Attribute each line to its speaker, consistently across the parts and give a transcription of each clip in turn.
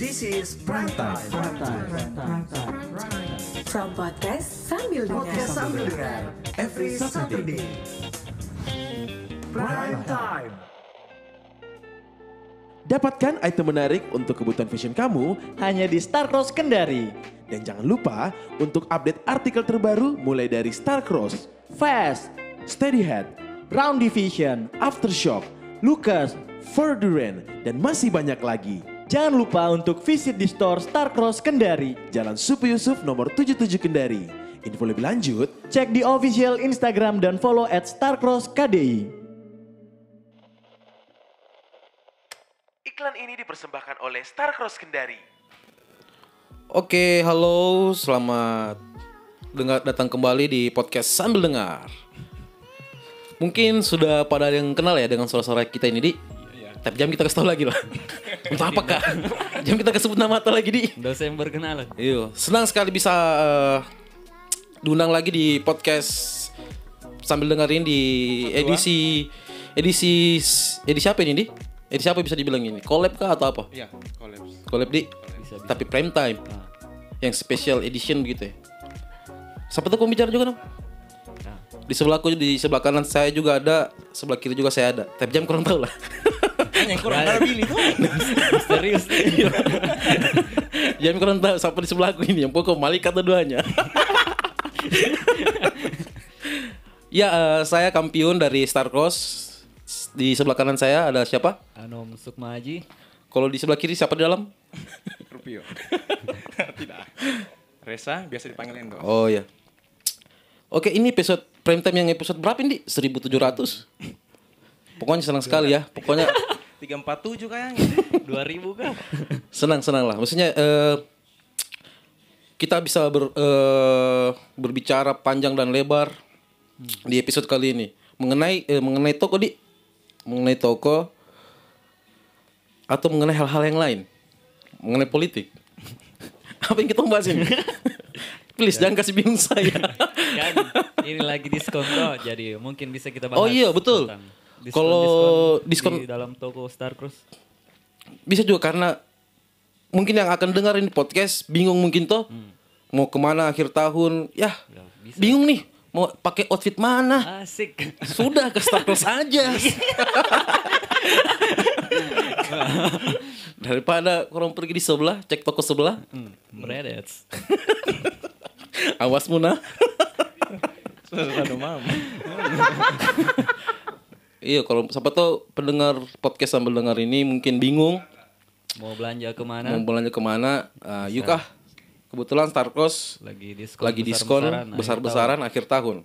Speaker 1: This is Prime Time.
Speaker 2: From Podcast Sambil Dengar.
Speaker 1: Podcast sambil dengar every Saturday. Prime Time.
Speaker 3: Dapatkan item menarik untuk kebutuhan fashion kamu
Speaker 4: hanya di Star Cross Kendari.
Speaker 3: dan jangan lupa untuk update artikel terbaru mulai dari Starcross,
Speaker 4: Fast,
Speaker 3: Steadyhead,
Speaker 4: Brown Division.
Speaker 3: Aftershock,
Speaker 4: Lucas,
Speaker 3: Verduren, dan masih banyak lagi.
Speaker 4: jangan lupa untuk visit di store Star Cross Kendari.
Speaker 3: Jalan Supi Yusuf nomor 77 Kendari. Info lebih lanjut,
Speaker 4: Cek di official Instagram dan follow at Starcross KDI.
Speaker 3: iklan ini dipersembahkan oleh Starcross Kendari.
Speaker 5: Oke, halo, selamat dengar datang kembali di podcast sambil dengar. Mungkin sudah pada ada yang kenal ya dengan suara-suara kita ini, Di. Tapi jam kita kasih tahu lagi lah. Entah apa kak? Jam kita kesebut nama atau lagi, Di.
Speaker 6: Dosen berkenalan.
Speaker 5: Iya, senang sekali bisa eh, diundang lagi di podcast sambil dengerin di edisi edisi edisi apa ini, Di? Edisi apa bisa dibilang ini? Collab kah atau apa?
Speaker 7: Iya, kolaps.
Speaker 5: Collab Ah. di Tapi prime time Yang special edition begitu ya Siapa tuh pembicara juga dong? Di sebelah aku, di sebelah kanan saya juga ada Sebelah kiri juga saya ada Tapi jam kurang tahu lah
Speaker 6: Ya,
Speaker 7: Yang kurang dari Billy tuh.
Speaker 6: Serius.
Speaker 5: Jam kurang tahu siapa di sebelah aku ini Yang pokok malaikat keduanya Ya eh, saya Kampiun dari Star Cross Di sebelah kanan saya ada siapa?
Speaker 6: Anom Sukma Haji.
Speaker 5: Kalau di sebelah kiri siapa di dalam?
Speaker 7: Rupio. Tidak. Resa biasa dipanggil Endo.
Speaker 5: Oh ya. Oke, ini episode prime time yang episode berapa ini? Di? 1700. Pokoknya senang sekali ya. Pokoknya
Speaker 7: 347 kayaknya.
Speaker 6: 2000 kah?
Speaker 5: senang-senang lah. Maksudnya eh, kita bisa ber- eh, berbicara panjang dan lebar di episode kali ini mengenai eh, mengenai toko di mengenai toko atau mengenai hal-hal yang lain mengenai politik apa yang kita bahas ini please jangan kasih bingung saya
Speaker 6: Kan ini lagi diskon toh. Jadi mungkin bisa kita bahas.
Speaker 5: Oh iya, betul.
Speaker 6: tentang diskon-
Speaker 5: Kalau diskon-
Speaker 6: di dalam toko Star Cruise.
Speaker 5: bisa juga karena mungkin yang akan dengerin podcast bingung mungkin toh mau kemana akhir tahun ya
Speaker 6: bisa. Ah.
Speaker 5: bingung nih mau pakai outfit mana
Speaker 6: Asik.
Speaker 5: sudah ke status aja daripada kurang pergi di sebelah cek toko sebelah
Speaker 6: Hmm, Meredets.
Speaker 5: awas muna
Speaker 7: Aduh, mam.
Speaker 5: iya kalau siapa tahu pendengar podcast sambil dengar ini mungkin bingung
Speaker 6: Mau belanja
Speaker 5: mau
Speaker 6: kemana?
Speaker 5: belanja kemana ah, yuk ah kebetulan Starcross
Speaker 6: Lagi diskon.
Speaker 5: lagi diskon
Speaker 6: besar-besaran. Nah, Ayo
Speaker 5: besar-besaran akhir tahun.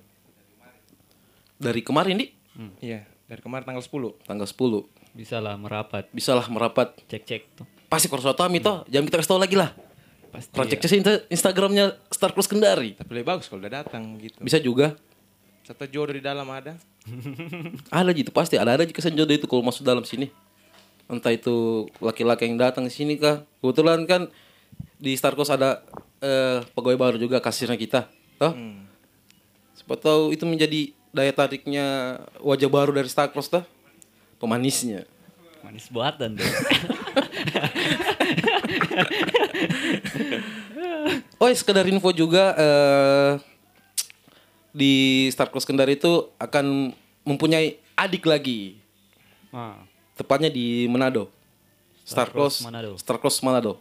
Speaker 5: Dari kemarin nih
Speaker 7: Iya, dari kemarin tanggal 10.
Speaker 5: tanggal 10
Speaker 6: tahu. Bisa lah merapat.
Speaker 5: bisalah merapat
Speaker 6: Cek-cek tuh.
Speaker 5: pasti korsotami toh
Speaker 6: Hmm.
Speaker 5: jangan kita kasih tahu lagi lah
Speaker 6: Pasti. ya,
Speaker 5: Project cek insta- Instagramnya Star Plus Kendari
Speaker 7: Tapi lebih bagus kalau udah datang gitu.
Speaker 5: bisa juga
Speaker 7: Satu jodoh di dalam ada.
Speaker 5: ada gitu pasti ada ada kesan jodoh itu kalau masuk dalam sini entah itu laki-laki yang datang di sini kah kebetulan kan di Star Plus ada eh, pegawai baru juga kasirnya kita toh siapa tahu itu menjadi daya tariknya wajah baru dari Star Plus toh pemanisnya
Speaker 6: Manis buatan tuh.
Speaker 5: Oh, sekedar info juga eh, di Star Cross Kendari itu akan mempunyai adik lagi,
Speaker 6: Ah,
Speaker 5: tepatnya di Manado. Star
Speaker 6: Star Cross
Speaker 5: Cross
Speaker 6: Manado.
Speaker 5: Star Cross Manado.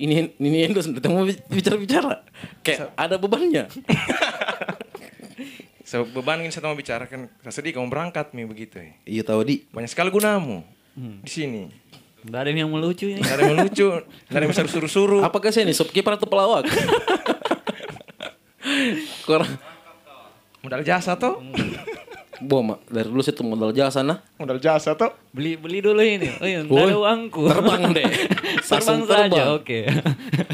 Speaker 5: Ini ini Endo sudah mau bicara-bicara. Kayak ada bebannya.
Speaker 7: Saya bebanin saya mau bicara kan. Saya sedih kamu berangkat nih begitu. ya.
Speaker 5: Iya tahu di.
Speaker 7: Banyak sekali gunamu di sini.
Speaker 6: nggak ada yang melucu ini.
Speaker 7: Nggak ada yang lucu, nggak ada yang bisa suruh-suruh.
Speaker 5: Apakah saya nih shopkeeper atau pelawak? Kurang
Speaker 7: Modal jasa toh?
Speaker 5: Boma, dari dulu saya tuh modal jasa nah.
Speaker 7: Hmm. Modal jasa toh?
Speaker 6: Beli beli dulu ini. Oh iya, nggak ada
Speaker 5: Woi,
Speaker 6: uangku.
Speaker 5: terbang deh.
Speaker 6: terbang
Speaker 5: Langsung
Speaker 6: saja,
Speaker 5: terbang.
Speaker 6: oke.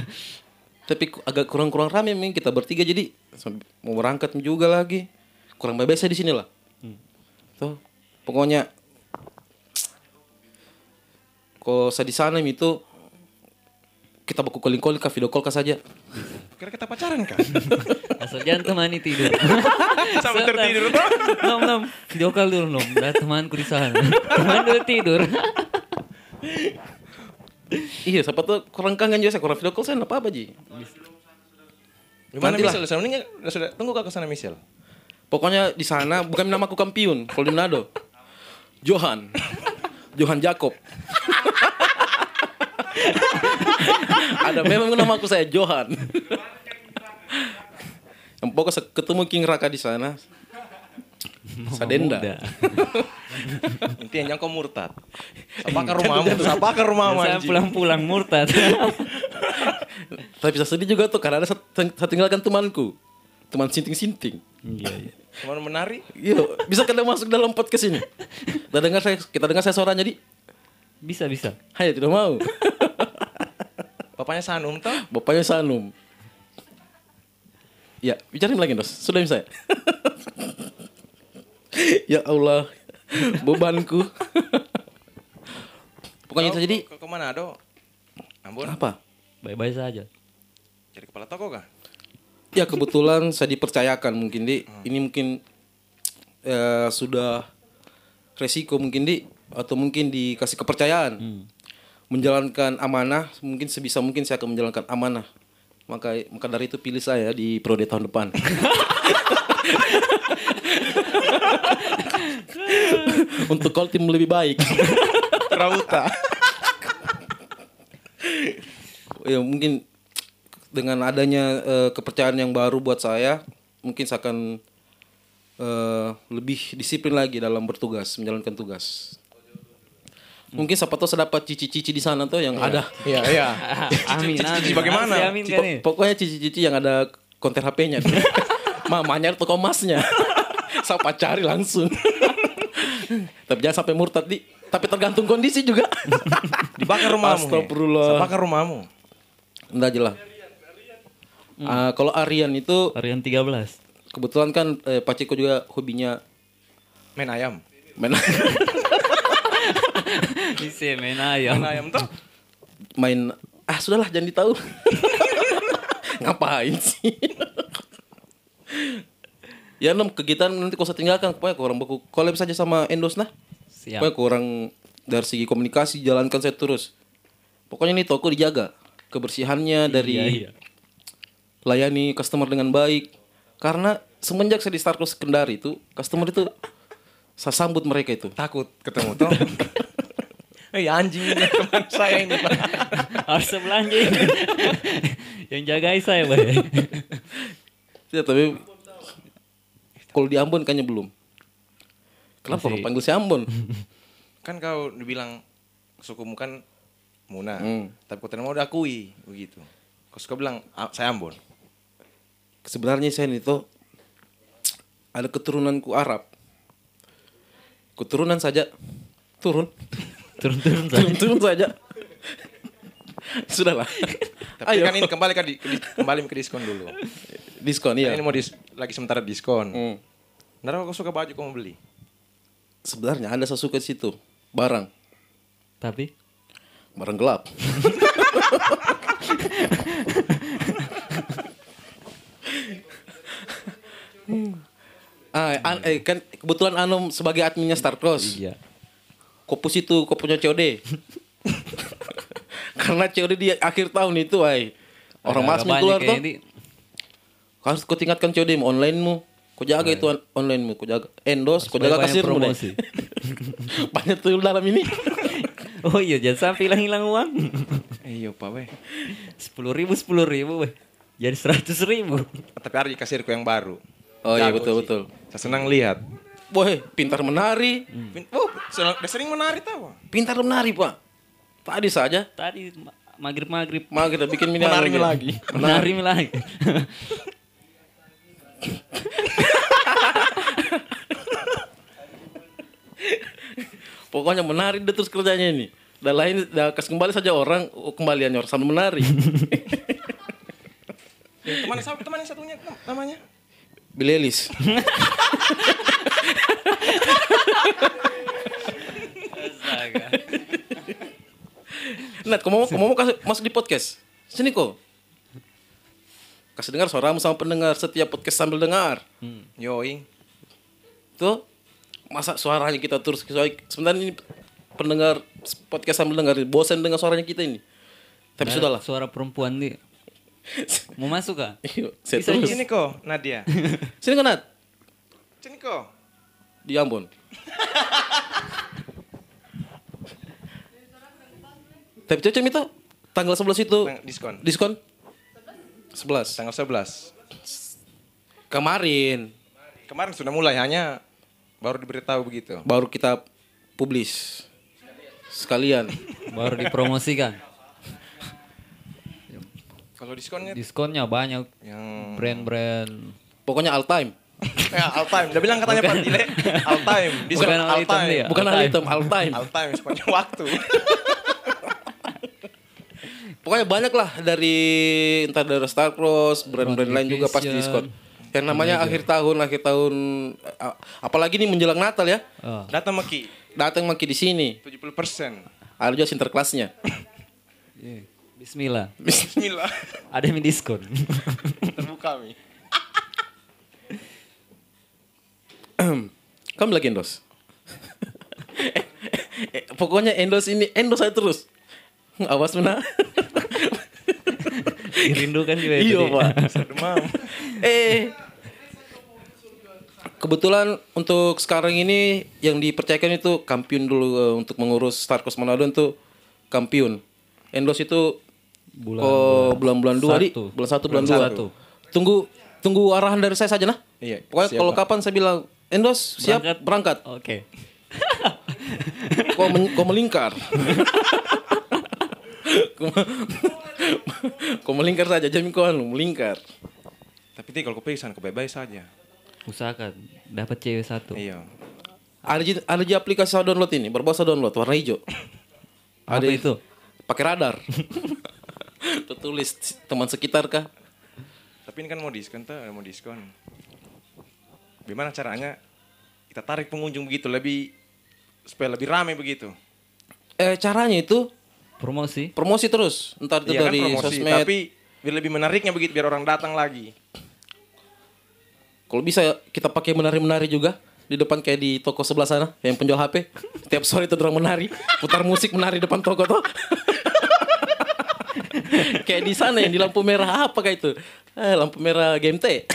Speaker 5: Tapi ku- agak kurang-kurang rame nih kita bertiga jadi sam- mau berangkat juga lagi. Kurang bebas di sini lah. Tuh, pokoknya kalau saya di sana Mi, itu kita baku calling-calling ke video call kah saja.
Speaker 7: Kira kita pacaran kan?
Speaker 6: Asal jangan temani tidur. Asal-
Speaker 7: Sampai tertidur, Bang.
Speaker 6: Nom nom, video call dulu nom. Dah temanku di sana. Teman dulu tidur.
Speaker 5: Iya, siapa tuh kurang kangen juga saya kurang video call saya enggak apa-apa, Ji.
Speaker 7: Gimana
Speaker 5: Nantilah.
Speaker 7: Michelle? Selama ini nggak- udah sudah tunggu kakak sana Michelle.
Speaker 5: Pokoknya di sana bukan nama aku Kampiun, kalau di Manado. Johan. Johan Jacob. Ada memang nama aku saya Johan. Yang pokoknya se- ketemu King Raka di sana. Sadenda.
Speaker 6: Muda.
Speaker 7: Intinya nyangkau murtad. Sapakah rumahmu? Sapakah rumahmu?
Speaker 6: Saya
Speaker 7: anjing?
Speaker 6: pulang-pulang murtad.
Speaker 5: Tapi bisa sedih juga tuh karena ada sat- saya tinggalkan temanku. Teman sinting-sinting.
Speaker 6: Iya, iya.
Speaker 7: Cuman menari?
Speaker 5: Iya, bisa kalian masuk dalam podcast ini. Kita dengar saya, kita dengar saya suaranya di.
Speaker 6: Bisa, bisa.
Speaker 5: Hai, tidak mau.
Speaker 7: Bapaknya Sanum tuh?
Speaker 5: Bapaknya Sanum. Ya, bicarain lagi, Dos. Sudah bisa. ya? ya Allah, bebanku. Pokoknya itu jadi
Speaker 7: Ke, ke Manado? Ambon?
Speaker 5: apa?
Speaker 6: Baik-baik saja.
Speaker 7: Jadi kepala toko kah?
Speaker 5: Ya kebetulan saya dipercayakan mungkin di ini mungkin eh, sudah resiko mungkin di atau mungkin dikasih kepercayaan menjalankan amanah mungkin sebisa mungkin saya akan menjalankan amanah maka maka dari itu pilih saya di periode tahun depan untuk call tim lebih baik
Speaker 7: Rauta.
Speaker 5: ya mungkin dengan adanya eh, kepercayaan yang baru buat saya mungkin saya akan eh, lebih disiplin lagi dalam bertugas menjalankan tugas mungkin siapa tahu saya dapat cici-cici di sana tuh yang ada
Speaker 7: Iya, iya.
Speaker 6: Ah, Amin,
Speaker 7: Cici-cici bagaimana?
Speaker 6: Masih Amin kan nih?
Speaker 5: Po- pokoknya cici-cici yang ada konter HP-nya mamanya toko emasnya saya pacari langsung tapi jangan sampai murtad di tapi tergantung kondisi juga
Speaker 7: Dibakar rumahmu. ya?
Speaker 5: Astagfirullah.
Speaker 7: Sapakah rumahmu?
Speaker 5: Enggak jelas Ah, kalau Aryan itu
Speaker 6: Varian 13.
Speaker 5: kebetulan kan eh, Paceko juga hobinya
Speaker 7: Main ayam.
Speaker 5: main
Speaker 6: Bisa main
Speaker 7: Main
Speaker 6: ayam.
Speaker 7: ayam tuh?
Speaker 5: main ah sudahlah jangan ditahu ngapain sih ya enam kegiatan nanti kau saya tinggalkan pokoknya kurang beku collab saja sama Endos nah
Speaker 6: Siap.
Speaker 5: pokoknya kurang dari segi komunikasi jalankan saya terus pokoknya ini toko dijaga kebersihannya dari
Speaker 6: Iya, iya.
Speaker 5: layani customer dengan baik karena semenjak saya di Starcross Kendari itu customer itu saya sambut mereka itu
Speaker 7: Takut ketemu tuh. Eh anjing ini teman saya ini.
Speaker 6: Harus sebelahnya ini. Yang ya, jagai saya, Bay.
Speaker 5: Tidak, Iya, tapi kalau di Ambon kayaknya belum. Kenapa
Speaker 6: Masih-
Speaker 5: lu panggil si Ambon?
Speaker 7: Kan kau dibilang sukumu kan Muna.
Speaker 5: Hmm.
Speaker 7: Tapi kau terima udah akui begitu. Kau suka bilang "Ah, saya Ambon.
Speaker 5: Sebenarnya saya itu ada keturunanku Arab. Keturunan saja turun,
Speaker 6: Turun-turun saja.
Speaker 5: turun, turun saja. Sudahlah.
Speaker 7: Tapi
Speaker 5: Ayo
Speaker 7: kan ini kembali kan di, di- kembali ke diskon dulu.
Speaker 5: diskon ya.
Speaker 7: Iya. Ini mau dis- lagi sementara diskon.
Speaker 5: Hmm.
Speaker 7: Ntar kau suka baju kau mau beli.
Speaker 5: Sebenarnya ada saya suka di situ barang,
Speaker 6: Tapi
Speaker 5: barang gelap. Ah, an- eh, kan kebetulan Anom sebagai adminnya Starcross.
Speaker 6: iya.
Speaker 5: Kopus itu kopusnya COD. Karena COD di akhir tahun itu, ay. Orang
Speaker 6: Agak-agak
Speaker 5: masmi
Speaker 6: banyak
Speaker 5: keluar
Speaker 6: ya
Speaker 5: tuh.
Speaker 6: ini.
Speaker 5: Harus kau tingkatkan COD mu, onlinemu. Kau jaga itu on- onlinemu, kau jaga endos, kau jaga
Speaker 6: banyak-banyak
Speaker 5: kasirmu deh.
Speaker 6: Iya. promosi.
Speaker 5: banyak tuh dalam ini.
Speaker 6: Oh iya, jangan sampai hilang-hilang uang.
Speaker 7: Iya pak weh.
Speaker 6: Sepuluh ribu, sepuluh ribu, Bay. Jadi seratus ribu.
Speaker 7: Tapi ada di kasirku yang baru.
Speaker 5: Oh iya
Speaker 7: Jago
Speaker 5: betul
Speaker 7: sih.
Speaker 5: betul.
Speaker 7: Saya senang lihat.
Speaker 5: Woi, pintar menari,
Speaker 7: Pin- Oh, sel- udah sering menari tau.
Speaker 5: pintar menari pak. Tadi saja,
Speaker 6: Tadi ma- maghrib-maghrib.
Speaker 5: malah kita bikin mini
Speaker 7: Menari
Speaker 5: album.
Speaker 7: lagi.
Speaker 6: Menari lagi.
Speaker 5: Pokoknya menari dia terus kerjanya ini. Dan lain, dah kas kembali saja orang oh, kembalian orang sambil menari.
Speaker 7: Teman satu teman yang satunya nam- namanya.
Speaker 5: Billie Eilish.
Speaker 6: Astaga.
Speaker 5: Nat, kamu mau, kamu mau kasih- masuk di podcast? Sini kok. Kasih dengar suaramu sama pendengar setiap podcast sambil dengar.
Speaker 7: Yoi.
Speaker 5: Tuh, masa suaranya kita terus sesuai- sebenarnya ini pendengar podcast sambil dengar bosan dengan suaranya kita ini tapi
Speaker 6: Dari
Speaker 5: sudahlah
Speaker 6: Suara perempuan nih. Mau masuk kah?
Speaker 5: Yuk, saya
Speaker 6: Bisa
Speaker 5: terus
Speaker 7: Sini kok, Nadia.
Speaker 5: sini kan Nat
Speaker 7: Sini kok.
Speaker 5: di Ambon tapi cocok itu tanggal 11 itu
Speaker 7: Tang- Diskon.
Speaker 5: diskon 11
Speaker 7: Tanggal 11.
Speaker 5: kemarin
Speaker 7: Kemarin sudah mulai, hanya baru diberitahu begitu.
Speaker 5: baru kita publish sekalian
Speaker 6: Baru dipromosikan.
Speaker 7: Kalau diskonnya
Speaker 6: Diskonnya banyak.
Speaker 7: yang
Speaker 6: Brand-brand.
Speaker 5: pokoknya all time
Speaker 7: ya, all time. Udah bilang katanya Pak Dile, all time. Diskon
Speaker 6: Bukan all
Speaker 7: all
Speaker 6: item
Speaker 7: time.
Speaker 6: dia.
Speaker 5: bukan
Speaker 6: All
Speaker 5: all
Speaker 6: time.
Speaker 5: item all time
Speaker 7: All time sepanjang waktu.
Speaker 5: pokoknya banyak lah dari entah dari Starcross brand-brand lain juga pasti diskon yang namanya akhir tahun akhir tahun a- apalagi nih menjelang Natal ya
Speaker 6: Oh.
Speaker 7: Data Meki
Speaker 5: datang makin di sini
Speaker 7: 70%.
Speaker 5: ada juga sinterklasnya
Speaker 6: Bismillah.
Speaker 7: Bismillah.
Speaker 6: Ada yang diskon.
Speaker 7: Terbuka Mi.
Speaker 5: kamu lagi endorse Eh, eh, pokoknya endorse ini endorse saya terus awas mena
Speaker 6: Dirindukan juga ya, itu
Speaker 5: iya
Speaker 6: dia.
Speaker 5: pak
Speaker 7: Demam.
Speaker 5: eh kebetulan untuk sekarang ini yang dipercayakan itu Kampiun dulu eh, untuk mengurus Starcross Manado itu Kampiun. Endos itu
Speaker 6: Bulan-
Speaker 5: oh, bulan-bulan dua di
Speaker 6: satu.
Speaker 5: bulan satu bulan,
Speaker 6: Bulan
Speaker 5: dua.
Speaker 6: satu.
Speaker 5: Tunggu tunggu arahan dari saya saja nah.
Speaker 7: Iya,
Speaker 5: Pokoknya
Speaker 7: siap,
Speaker 5: kalau
Speaker 7: Pak.
Speaker 5: kapan saya bilang Endos siap
Speaker 6: Berangkat.
Speaker 5: berangkat.
Speaker 6: Oh. Oke.
Speaker 5: kok, men- kok melingkar? Kok me- kok melingkar saja jamin kau anu, melingkar.
Speaker 7: Tapi ti kalau kepisan kebaik-baik saja.
Speaker 6: Usahakan dapat cewek satu.
Speaker 7: Iya.
Speaker 5: Ada j- ada j- aplikasi saya download ini, berbahasa download warna hijau.
Speaker 6: Apa
Speaker 5: Ada
Speaker 6: itu?
Speaker 5: Pakai radar. Tertulis teman sekitar kah?
Speaker 7: Tapi ini kan mau diskon tuh, mau diskon. Gimana caranya kita tarik pengunjung begitu lebih supaya lebih rame begitu.
Speaker 5: Eh caranya itu
Speaker 6: Promosi.
Speaker 5: promosi terus. Entar itu
Speaker 7: Iya kan
Speaker 5: dari
Speaker 7: promosi,
Speaker 5: sosmed.
Speaker 7: tapi biar lebih menariknya begitu biar orang datang lagi.
Speaker 5: Kalau bisa kita pakai menari-menari juga di depan kayak di toko sebelah sana yang penjual HP. Tiap sore itu orang menari, putar musik menari depan toko tuh. kayak di sana yang di lampu merah apa kayak itu? Eh, lampu merah GMT.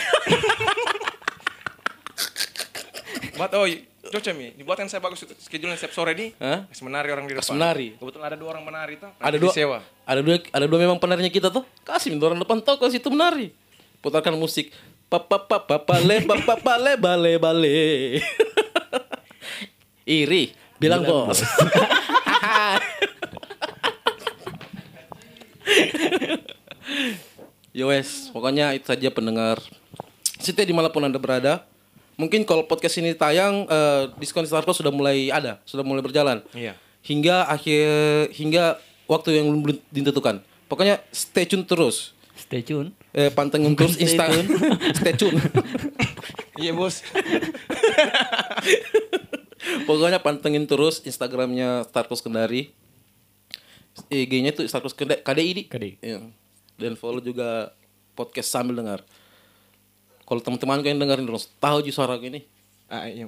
Speaker 7: Buat oh cocok mi, dibuatkan saya bagus itu schedule setiap sore di
Speaker 5: Hah?
Speaker 7: kasih menari orang di depan.
Speaker 5: Kasih menari.
Speaker 7: Kebetulan ada dua orang menari tuh.
Speaker 5: ada
Speaker 7: nanti
Speaker 5: dua
Speaker 7: disewa.
Speaker 5: ada dua ada dua memang penarinya kita tuh kasih minta orang depan toko situ menari putarkan musik papa papa pale papa pale bale bale iri bilang bos Yo wes, pokoknya itu saja pendengar. Setiap dimanapun anda berada, mungkin kalau podcast ini tayang eh, diskon Starco sudah mulai ada, sudah mulai berjalan.
Speaker 7: Iya.
Speaker 5: Hingga akhir hingga waktu yang belum belum ditentukan. Pokoknya stay tune terus.
Speaker 6: Stay tune.
Speaker 5: Eh, pantengin terus
Speaker 6: Stay
Speaker 5: Insta.
Speaker 6: tune.
Speaker 5: stay tune.
Speaker 7: Iya bos.
Speaker 5: Pokoknya pantengin terus Instagramnya Starcos Kendari. IG-nya itu Starcos Kendari KDI. Di.
Speaker 6: KDI.
Speaker 5: Iya. Dan follow juga podcast sambil dengar. Kalau teman-teman kalian dengerin terus tahu juga suara gue ini.
Speaker 7: ah, iya.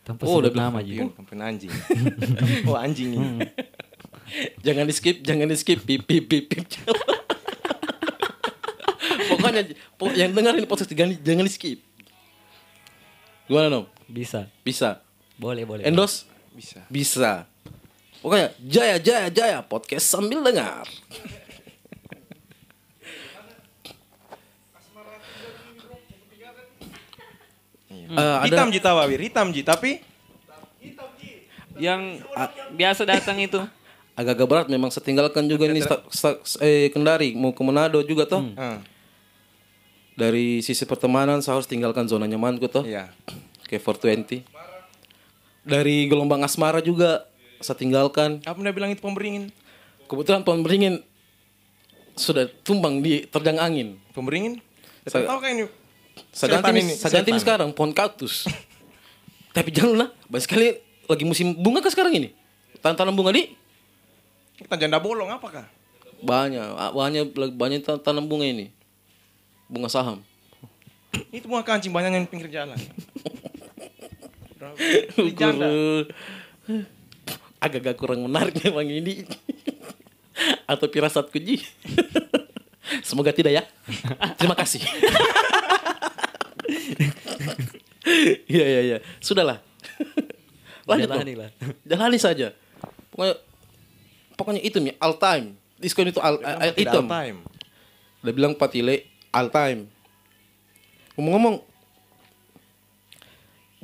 Speaker 6: Tanpa
Speaker 5: Oh, udah
Speaker 6: sebut nama juga.
Speaker 7: Iya, kampung anjing. oh anjing ini.
Speaker 5: Hmm. Jangan di skip, jangan di skip, pip pip pip pip. Pokoknya po- yang dengerin podcast jangan, jangan di skip. Gimana nom?
Speaker 6: Bisa.
Speaker 5: Bisa.
Speaker 6: Boleh, boleh.
Speaker 5: Endos?
Speaker 7: Iya. Bisa.
Speaker 5: Bisa. Pokoknya jaya jaya jaya podcast sambil dengar.
Speaker 7: Iya.
Speaker 5: Eh, ada
Speaker 7: Hitam jita wawir, hitam ji. Tapi
Speaker 6: Yang biasa datang itu.
Speaker 5: agak-agak berat memang setinggalkan juga nih sta- sta- eh, Kendari mau ke Manado juga toh.
Speaker 7: eh,
Speaker 5: Dari sisi pertemanan saya harus tinggalkan zona nyamanku toh.
Speaker 7: iya.
Speaker 5: Kayak 420. Dari gelombang asmara juga saya tinggalkan.
Speaker 7: Apa udah bilang itu pemberingin?
Speaker 5: Kebetulan pohon beringin sudah tumbang di terjang angin.
Speaker 7: Pemberingin?
Speaker 5: Saya-
Speaker 7: Saya tahu kan ini.
Speaker 5: Saya
Speaker 7: Setan
Speaker 5: ganti,
Speaker 7: ini,
Speaker 5: saya ganti nih
Speaker 7: setan.
Speaker 5: sekarang pohon kaktus. Tapi jangan lah, banyak sekali lagi musim bunga kan sekarang ini. Tanam bunga di
Speaker 7: Kita janda bolong apakah?
Speaker 5: banyak, ah, banyak banyak tan- tanam bunga ini. Bunga saham.
Speaker 7: Itu bunga kancing banyak yang pinggir jalan. Di janda.
Speaker 5: Ukur agak-agak kurang menarik memang ini. Atau firasatku Ji. Semoga tidak ya. Terima kasih. Iya iya iya. Sudahlah. Lanjut
Speaker 6: Jalani
Speaker 5: dong.
Speaker 6: lah.
Speaker 5: Jalani saja. Pokoknya pokoknya itu nih all time. Diskon itu all, eh,
Speaker 7: Tidak
Speaker 5: item.
Speaker 6: ya.
Speaker 7: time.
Speaker 5: Udah bilang Patile all time. Ngomong-ngomong,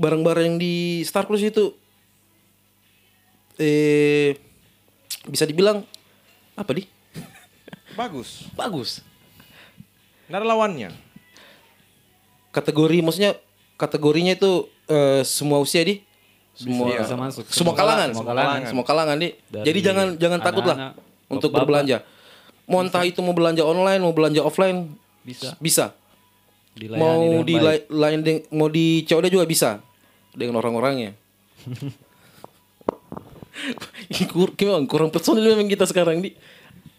Speaker 5: barang-barang yang di Star Plus itu eh bisa dibilang apa di?
Speaker 7: Bagus.
Speaker 5: Bagus.
Speaker 7: Nggak ada lawannya.
Speaker 5: Kategori maksudnya kategorinya itu eh, semua usia di semua
Speaker 6: Bisa masuk.
Speaker 5: semua kalangan
Speaker 6: Semua
Speaker 5: semua
Speaker 6: kalangan.
Speaker 5: kalangan semua kalangan di
Speaker 6: Dari
Speaker 5: jadi jangan jangan takut lah
Speaker 6: anak-anak,
Speaker 5: untuk
Speaker 6: bapak-bapak.
Speaker 5: berbelanja mau entah itu mau belanja online mau belanja offline
Speaker 6: Bisa.
Speaker 5: bisa
Speaker 6: Dilayani
Speaker 5: mau
Speaker 6: dengan
Speaker 5: di
Speaker 6: baik.
Speaker 5: lai- lain deng- mau di COD juga bisa dengan orang-orangnya. Ih, Kur memang kurang personil memang kita sekarang di.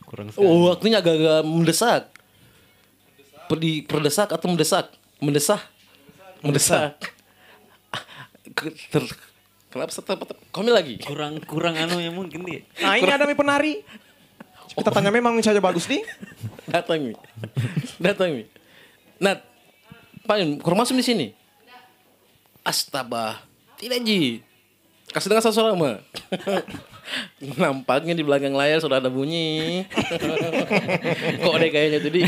Speaker 6: kurang sekali.
Speaker 5: Oh, waktunya agak-agak mendesak. Perdi perdesak atau mendesak? Mendesah. Mendesak. Ke- ter- Kenapa serta kami lagi?
Speaker 6: kurang kurang anu ya mungkin dia.
Speaker 7: Nah ini ada mi penari. Kita tanya memang ini saja bagus nih.
Speaker 5: Datang mi. Datang mi. Nat. Paling kurang masuk di sini. Astaga. Tidak Ji. Kasih dengar satu orang mah. Nampaknya di belakang layar sudah ada bunyi. Kok deh kayaknya tuh di.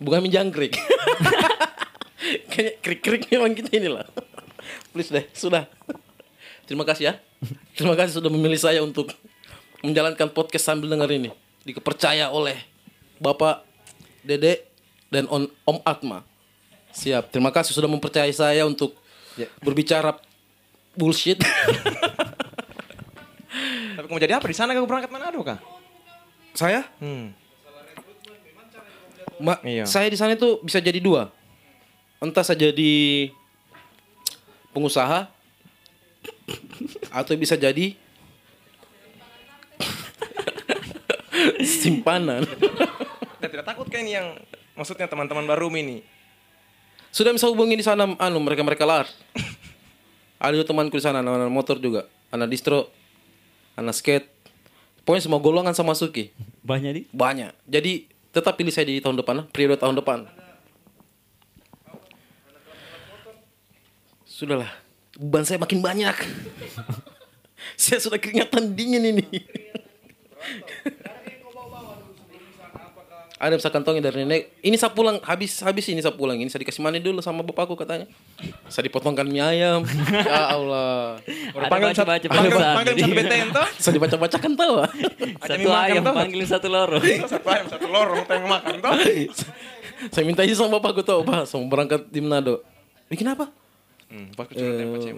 Speaker 5: Bukan mi jangkrik. Kayaknya krik-krik memang kita inilah. Please deh, sudah. Terima kasih ya. Terima kasih sudah memilih saya untuk menjalankan podcast sambil dengar ini. Dikepercaya oleh Bapak Dede dan On- Om Atma. Siap. Terima kasih sudah mempercayai saya untuk berbicara bullshit.
Speaker 7: Tapi kamu jadi apa di sana? Kamu berangkat Manado kah?
Speaker 5: saya?
Speaker 7: Hmm.
Speaker 5: Ma-
Speaker 7: Iya.
Speaker 5: Saya di sana itu bisa jadi dua. Entah saya jadi pengusaha atau bisa jadi simpanan.
Speaker 7: Dan tidak takut kan ini yang maksudnya teman-teman baru ini.
Speaker 5: Sudah bisa hubungi di sana anu mereka mereka lar. Ada juga temanku di sana anak, anak motor juga, anak distro, anak skate. Pokoknya semua golongan sama Suki
Speaker 6: Banyak di.
Speaker 5: banyak. Jadi tetap pilih saya di tahun depan lah, periode tahun depan. Sudahlah, beban saya makin banyak. saya sudah keringatan dingin ini. Ada bisa kantongnya dari nenek. Ini saya pulang habis habis ini saya pulang ini saya dikasih mani dulu sama bapakku katanya. Saya dipotongkan mie ayam. ya Allah.
Speaker 6: Ada baca baca
Speaker 7: panggil,
Speaker 6: pesan,
Speaker 7: panggil
Speaker 6: jadi.
Speaker 7: satu BTN toh.
Speaker 5: Saya dibaca-bacakan tahu.
Speaker 6: Satu
Speaker 7: makan
Speaker 6: ayam
Speaker 7: toh.
Speaker 6: panggil satu loro.
Speaker 5: Hmm.
Speaker 7: Satu ayam, satu lorong, kita yang makan toh.
Speaker 5: saya minta izin sama bapakku tahu, Pak, saya mau berangkat di Manado. Bikin apa?
Speaker 7: Hmm, pas kecil ada yang macam.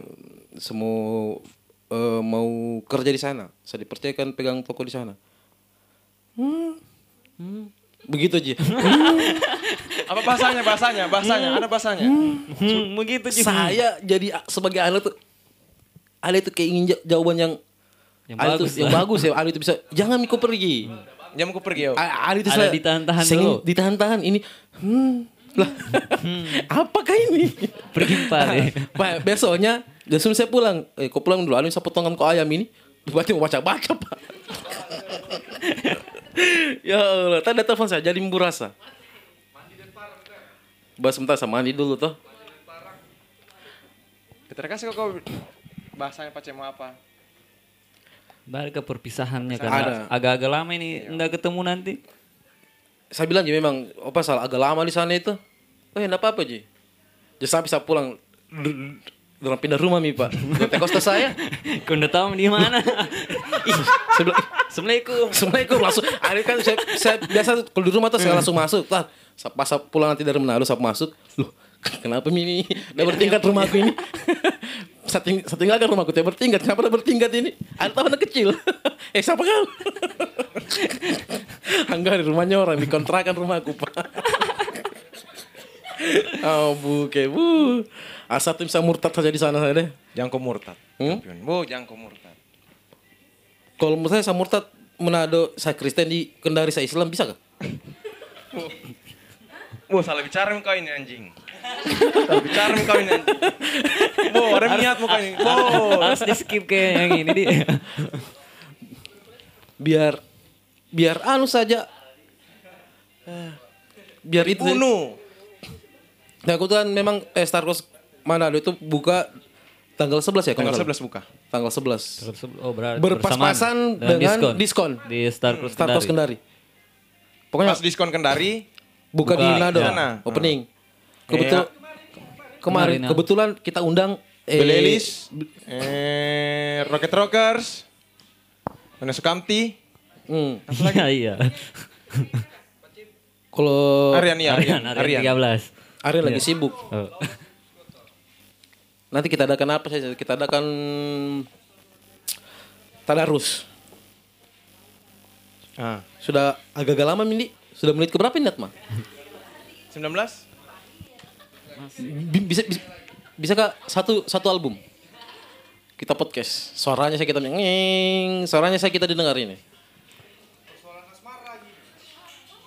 Speaker 5: semua eh, mau kerja di sana. Saya dipercayakan pegang toko di sana. Hmm. Begitu aja.
Speaker 7: Apa bahasanya, bahasanya, bahasanya, ada bahasanya.
Speaker 6: Hmm, begitu sih.
Speaker 5: saya jadi a- sebagai ahli tuh ahli itu keingin ja- jawaban yang
Speaker 6: Yang
Speaker 5: ahli
Speaker 6: bagus
Speaker 5: tuh- yang
Speaker 6: lah. Hmm.
Speaker 5: bagus ya ahli itu bisa jangan Miko pergi.
Speaker 7: Jam aku pergi yo.
Speaker 5: A- ahli itu
Speaker 6: Ada
Speaker 5: saya-
Speaker 6: ditahan-tahan
Speaker 5: saya ingin
Speaker 6: dulu.
Speaker 5: Ditahan-tahan ini. Hmm. Lah. Apakah ini?
Speaker 6: Pergimpar ya.
Speaker 5: Pak, besoknya langsung saya pulang. Eh, kau pulang dulu. Alin saya potongan kau ayam ini. Berarti mau baca-baca, Pak. ya Allah, tadi telepon saya jadi murasa. Bahas sebentar sama mandi dulu toh.
Speaker 7: Kita kasih kok kau bahasanya pace mau apa?
Speaker 6: Balik ke perpisahannya karena
Speaker 5: Ada. Iya.
Speaker 6: agak-agak lama ini nggak ketemu nanti.
Speaker 5: Saya bilang ya memang apa salah agak lama di sana itu. Oh, ya enggak apa-apa, Ji. Jadi sampai saya pulang dalam pindah rumah mi pak. Ke kosta saya.
Speaker 6: Kau udah tahu di mana? Ih,
Speaker 5: Saya bilang,
Speaker 6: Assalamualaikum.
Speaker 5: Assalamualaikum langsung. Ada kan saya, saya biasa kalau di rumah tuh saya langsung masuk. Lah, sa- pas saya pulang nanti dari Manado saya masuk. Loh, kenapa ini? Udah bertingkat rumahku ini. kan saya, ting saya tinggalkan rumahku dia bertingkat. Kenapa udah bertingkat ini? Ada tahu anak kecil. eh, siapa kau? Enggak di rumahnya orang dikontrakan rumahku, Pak. Oh, bu, oke, bu. Asal tim saya murtad saja di sana saya deh.
Speaker 7: Jangan kau murtad.
Speaker 5: Hmm?
Speaker 7: Champion. Bu, jangan kau murtad.
Speaker 5: Kalau menurut saya saya murtad Manado saya Kristen di Kendari saya Islam bisa gak?
Speaker 7: Bu, salah bicara kau ini anjing. Bicara kau ini. Bo, ada niat mukanya. Bo.
Speaker 6: Harus di skip kayak yang ini di.
Speaker 5: biar biar anu saja Eh, biar itu
Speaker 7: Bunuh.
Speaker 5: nah kebetulan memang eh, Star Cross Manado itu buka tanggal 11 ya kalau
Speaker 7: Tanggal
Speaker 5: nggak
Speaker 7: 11
Speaker 5: salah?
Speaker 7: buka.
Speaker 5: tanggal 11
Speaker 6: Oh, berarti
Speaker 5: Berpas-pasan
Speaker 6: bersamaan
Speaker 5: dengan diskon.
Speaker 6: Di Star Cross
Speaker 5: Star Cross Kendari pokoknya
Speaker 7: Pas diskon Kendari,
Speaker 5: buka, di
Speaker 6: Buka,
Speaker 5: Manado
Speaker 6: ya.
Speaker 5: Nah, opening kebetul kemarin
Speaker 6: Kemarin, ya.
Speaker 5: kebetulan kita undang eh,
Speaker 7: Belelis, eh, Rocket Rockers, Mana Sukamti,
Speaker 5: hmm,
Speaker 6: Iya, iya.
Speaker 5: kalau
Speaker 7: Aryan ya,
Speaker 6: Arian, Arian,
Speaker 7: Aryan, Aryan.
Speaker 6: 13.
Speaker 5: Ariel lagi
Speaker 6: Iya.
Speaker 5: sibuk
Speaker 6: Oh.
Speaker 5: Nanti kita adakan apa saja? Kita adakan tadarus.
Speaker 7: Ah.
Speaker 5: Sudah agak-agak lama ini. Sudah menit keberapa ini Natma?
Speaker 7: 19?
Speaker 5: Bi- Bisa bisa, bisa kak satu satu album? Kita podcast. Suaranya saya kita ngeng. Suaranya saya kita didengar ini.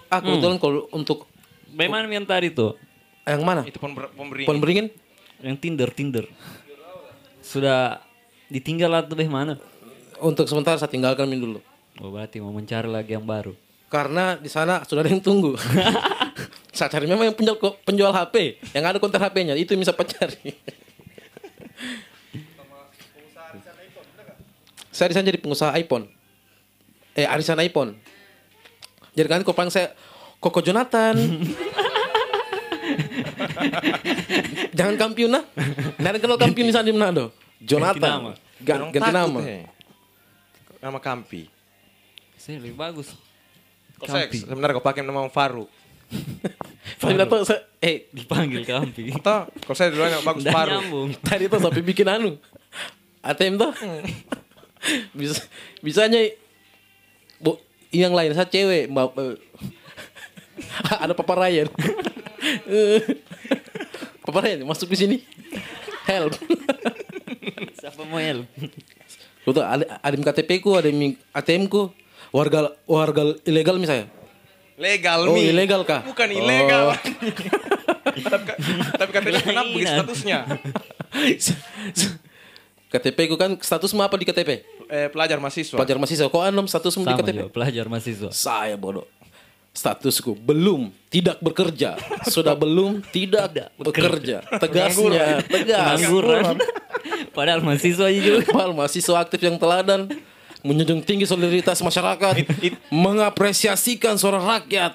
Speaker 5: Ah, kebetulan kalau untuk eh,
Speaker 6: Bagaimana yang tadi tuh?
Speaker 5: yang mana?
Speaker 7: Itu pember- pemberi.
Speaker 5: Pohon beringin?
Speaker 6: Yang Tinder, Tinder. Sudah ditinggal atau bagaimana?
Speaker 5: Untuk sementara saya tinggalkan ini dulu.
Speaker 6: Oh, berarti mau mencari lagi yang baru.
Speaker 5: Karena di sana sudah ada yang tunggu. saya cari memang yang penjual, penjual HP, yang ada konter HP-nya, itu yang bisa saya cari. saya di sana jadi pengusaha iPhone. Eh, arisan iPhone. Jadi kan kopang saya Koko Jonathan. Jangan kampiun nah. Nggak ada kenal kampiun di sana di Manado.
Speaker 6: nama.
Speaker 5: Jonathan. Gan-
Speaker 7: Orang
Speaker 5: Ganti
Speaker 7: takut,
Speaker 5: nama.
Speaker 7: eh. Nama Kampi.
Speaker 6: Saya lebih bagus.
Speaker 7: Kok seks? Sebenarnya kau pakai nama Faru.
Speaker 5: Saya bilang tuh, saya- eh
Speaker 6: Dipanggil Kampi.
Speaker 7: Toh, kalau saya duluan yang bagus
Speaker 6: Nggak
Speaker 7: Faru.
Speaker 6: nyambung.
Speaker 5: Tadi tuh sampai bikin anu. ATM tuh. Bisa bisanya Bu, yang lain saya cewek, Mbak. eh. Ada Papa Ryan. Eh. Papa Ryan masuk di sini. Help.
Speaker 6: Siapa mau help?
Speaker 5: Tuh tuh, ada ada yang KTP ku, ada yang ATM ku. Warga warga ilegal misalnya.
Speaker 7: Legal
Speaker 5: Oh,
Speaker 7: Mi.
Speaker 5: ilegal kah?
Speaker 7: Bukan
Speaker 5: Oh.
Speaker 7: ilegal. tapi tapi katanya penabur statusnya.
Speaker 5: KTP ku kan status apa di KTP?
Speaker 7: Eh, pelajar mahasiswa.
Speaker 5: Pelajar mahasiswa. Kok anom statusmu di
Speaker 6: Sama
Speaker 5: KTP?
Speaker 6: juga, pelajar mahasiswa.
Speaker 5: Saya bodoh. Statusku belum tidak bekerja. Sudah belum tidak bekerja. Tegasnya, Ya, tegas.
Speaker 6: Pengangguran. Padahal mahasiswa juga.
Speaker 5: Mal mahasiswa aktif yang teladan menjunjung tinggi solidaritas masyarakat, mengapresiasikan suara rakyat.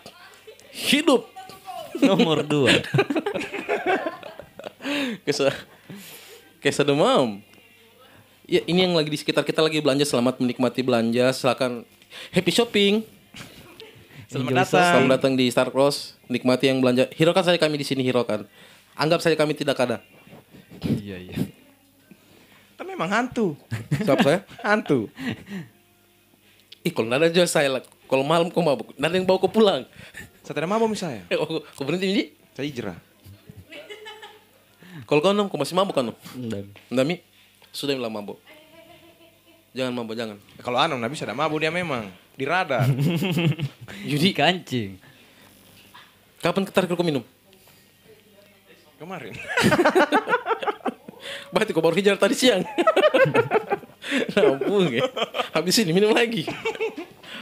Speaker 5: Hidup.
Speaker 6: Nomor dua.
Speaker 5: Kesa Kesa demam. Ya, ini yang lagi di sekitar kita lagi belanja. Selamat menikmati belanja. Silakan happy shopping.
Speaker 7: Selamat datang.
Speaker 5: Selamat datang di Star Cross. Nikmati yang belanja. Hiraukan saja kami di sini hiraukan. Anggap saja kami tidak ada.
Speaker 6: Iya, iya.
Speaker 7: Tapi memang hantu.
Speaker 5: Siapa saya?
Speaker 7: Hantu.
Speaker 5: Ih, kalau nggak ada juga saya lah. Kalau malam kau mabuk, nggak ada yang bawa kau pulang.
Speaker 7: Saya tidak mabuk misalnya.
Speaker 5: Eh, kau, kau berhenti ini.
Speaker 7: Saya hijrah.
Speaker 5: Kalau kau nom, kau masih mabuk kan nom?
Speaker 6: Dan
Speaker 5: Ndami, sudah bilang mabuk. Jangan mabuk, jangan.
Speaker 7: Kalau Anam Nabi sudah mabuk dia memang di radar.
Speaker 6: Yudi kancing.
Speaker 5: Kapan terakhir kau minum?
Speaker 7: Kemarin.
Speaker 5: Berarti kau baru kejar tadi siang. nah, ampun, ya. Habis ini minum lagi.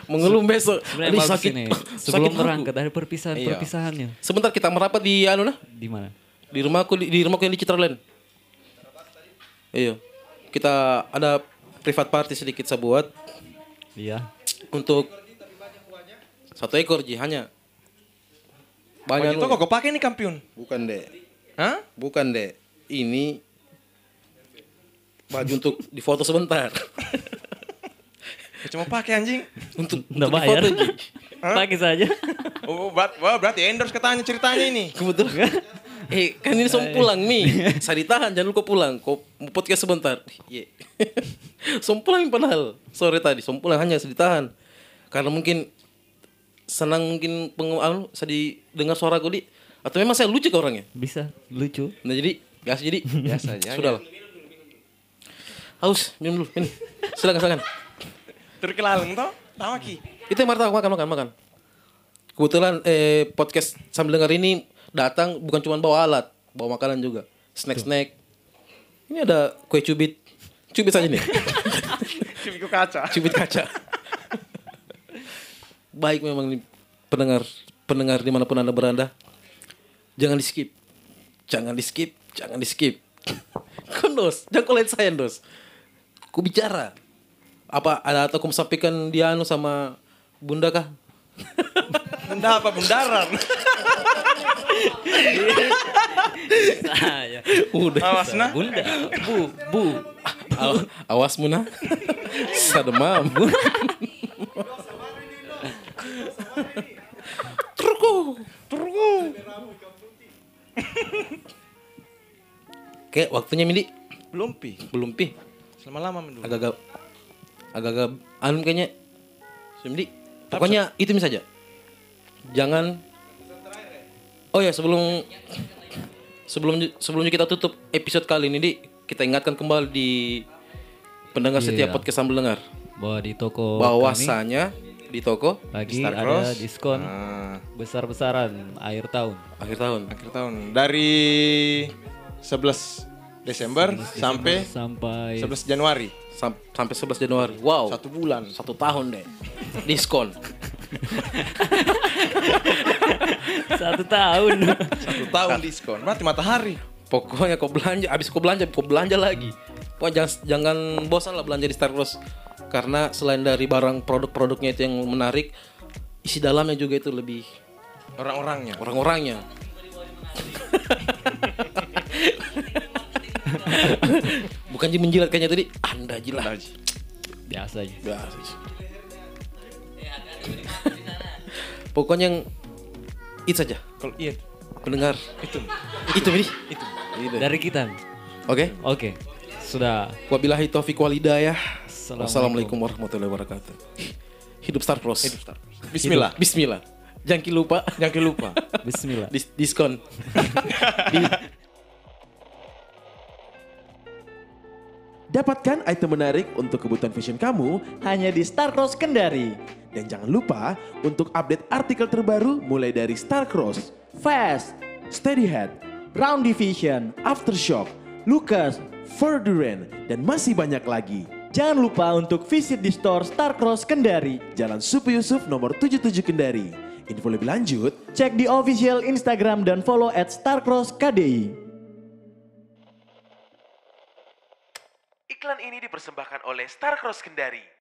Speaker 5: Mengeluh besok.
Speaker 6: Sebenarnya
Speaker 5: Aduh,
Speaker 6: bagus
Speaker 5: sakit.
Speaker 6: ini.
Speaker 5: Sakit
Speaker 6: Sebelum
Speaker 5: aku.
Speaker 6: berangkat ada perpisahan
Speaker 5: Iya.
Speaker 6: perpisahannya.
Speaker 5: Sebentar kita merapat di anu nah,
Speaker 6: Di mana?
Speaker 5: di rumahku di, di rumahku yang di Citraland. Iya. Kita ada private party sedikit saya buat
Speaker 6: Iya.
Speaker 5: untuk satu ekor ji hanya. Banyak
Speaker 7: Begitu kok
Speaker 5: lu.
Speaker 7: kau pakai nih kampiun.
Speaker 5: Bukan deh.
Speaker 7: Hah?
Speaker 5: Bukan deh. Ini baju untuk difoto sebentar.
Speaker 7: Kau Cuma pakai anjing.
Speaker 5: untuk
Speaker 6: Nggak
Speaker 5: untuk
Speaker 6: bayar.
Speaker 5: difoto, Ji.
Speaker 6: Pakai saja.
Speaker 7: Oh, berat- wah, berarti endorse katanya ceritanya ini.
Speaker 5: Kebetulan. eh, kan ini som pulang nih. Saya ditahan, jangan lupa pulang. Kok mau podcast sebentar. Iya. som pulang padahal. Sore tadi som pulang hanya saya ditahan. Karena mungkin senang mungkin pengenalan saya didengar suara gue di atau memang saya lucu ke orangnya.
Speaker 6: Bisa lucu.
Speaker 5: Nah jadi biasa jadi biasa aja. Sudah lah. Haus minum dulu. Minum. Silakan silakan.
Speaker 7: Terkelaleng toh? Tahu ki.
Speaker 5: Itu yang martabak makan makan makan. Kebetulan eh, podcast sambil dengar ini datang bukan cuma bawa alat, bawa makanan juga. Snack-snack. Ini ada kue cubit. Cubit saja nih.
Speaker 7: Cubitku kaca.
Speaker 5: cubit kaca. Baik memang nih pendengar pendengar dimanapun anda berada, jangan di skip, jangan di skip, jangan di skip. Kondos, jangan kau lihat saya dos. Ku bicara apa ada atau aku sampaikan dia anu sama bunda kah?
Speaker 7: Benda apa bundaran?
Speaker 6: Ah,
Speaker 5: iya.
Speaker 6: ya.
Speaker 5: Udah.
Speaker 7: Awas nah.
Speaker 6: Bunda, bu, bu.
Speaker 5: Aw- awas Muna, sademam. Truku, truku. Oke, waktunya Mili
Speaker 7: Belum pi.
Speaker 5: belum pi.
Speaker 7: Selama lama dulu.
Speaker 5: Agak-agak agak-agak anu kayaknya. Mili, pokoknya itu saja. Jangan Oh ya, sebelum sebelum sebelum kita tutup episode kali ini, Di, kita ingatkan kembali di pendengar setiap
Speaker 6: Iya.
Speaker 5: podcast sambil dengar
Speaker 6: Bahwa di toko kami
Speaker 5: bahwasanya di toko
Speaker 6: lagi
Speaker 7: Star
Speaker 6: ada
Speaker 5: Eh,
Speaker 7: Cross.
Speaker 6: diskon
Speaker 7: Nah,
Speaker 6: besar-besaran akhir tahun.
Speaker 5: akhir tahun.
Speaker 7: akhir tahun dari 11 Desember sampai
Speaker 6: Sampai
Speaker 7: 11 Januari.
Speaker 5: Sam- sampai 11 Januari. Wow.
Speaker 7: Satu bulan.
Speaker 5: Oh. Satu tahun deh. Diskon.
Speaker 6: satu tahun.
Speaker 7: Satu tahun diskon. Berarti matahari.
Speaker 5: Pokoknya kau belanja, abis kau belanja, kau belanja lagi. Pokoknya jangan, jangan bosan lah belanja di Star Cross. Karena selain dari barang produk-produknya itu yang menarik, isi dalamnya juga itu lebih
Speaker 7: Orang-orangnya.
Speaker 5: orang-orangnya. Bukan ji menjilat kayaknya tadi, Anda jilat.
Speaker 6: Biasanya.
Speaker 5: Pokoknya yang itu saja.
Speaker 7: Kalau iya
Speaker 5: Pendengar
Speaker 7: itu
Speaker 5: itu ini itu. Itu.
Speaker 6: Dari kita.
Speaker 5: Oke.
Speaker 6: Oke. Sudah.
Speaker 5: Wabillahi taufiq wal hidayah.
Speaker 6: Assalamualaikum.
Speaker 5: Wassalamualaikum warahmatullahi wabarakatuh. Hidup Star Plus. Hidup Star
Speaker 7: Bismillah.
Speaker 5: Bismillah. Jangan lupa, jangan lupa.
Speaker 6: Bismillah.
Speaker 5: Dis- diskon.
Speaker 3: Dapatkan item menarik untuk kebutuhan fashion kamu
Speaker 4: Hanya di Starcross Kendari.
Speaker 3: dan jangan lupa untuk update artikel terbaru mulai dari Starcross,
Speaker 4: Fast,
Speaker 3: Steadyhead,
Speaker 4: Round Division.
Speaker 3: Aftershock, Lucas, Verduren dan masih banyak lagi.
Speaker 4: Jangan lupa untuk visit di store Starcross Kendari.
Speaker 3: Jalan Supi Yusuf nomor 77 Kendari. Info lebih lanjut
Speaker 4: Cek di official Instagram dan follow at Starcross KDI.
Speaker 8: Iklan ini dipersembahkan oleh Starcross Kendari.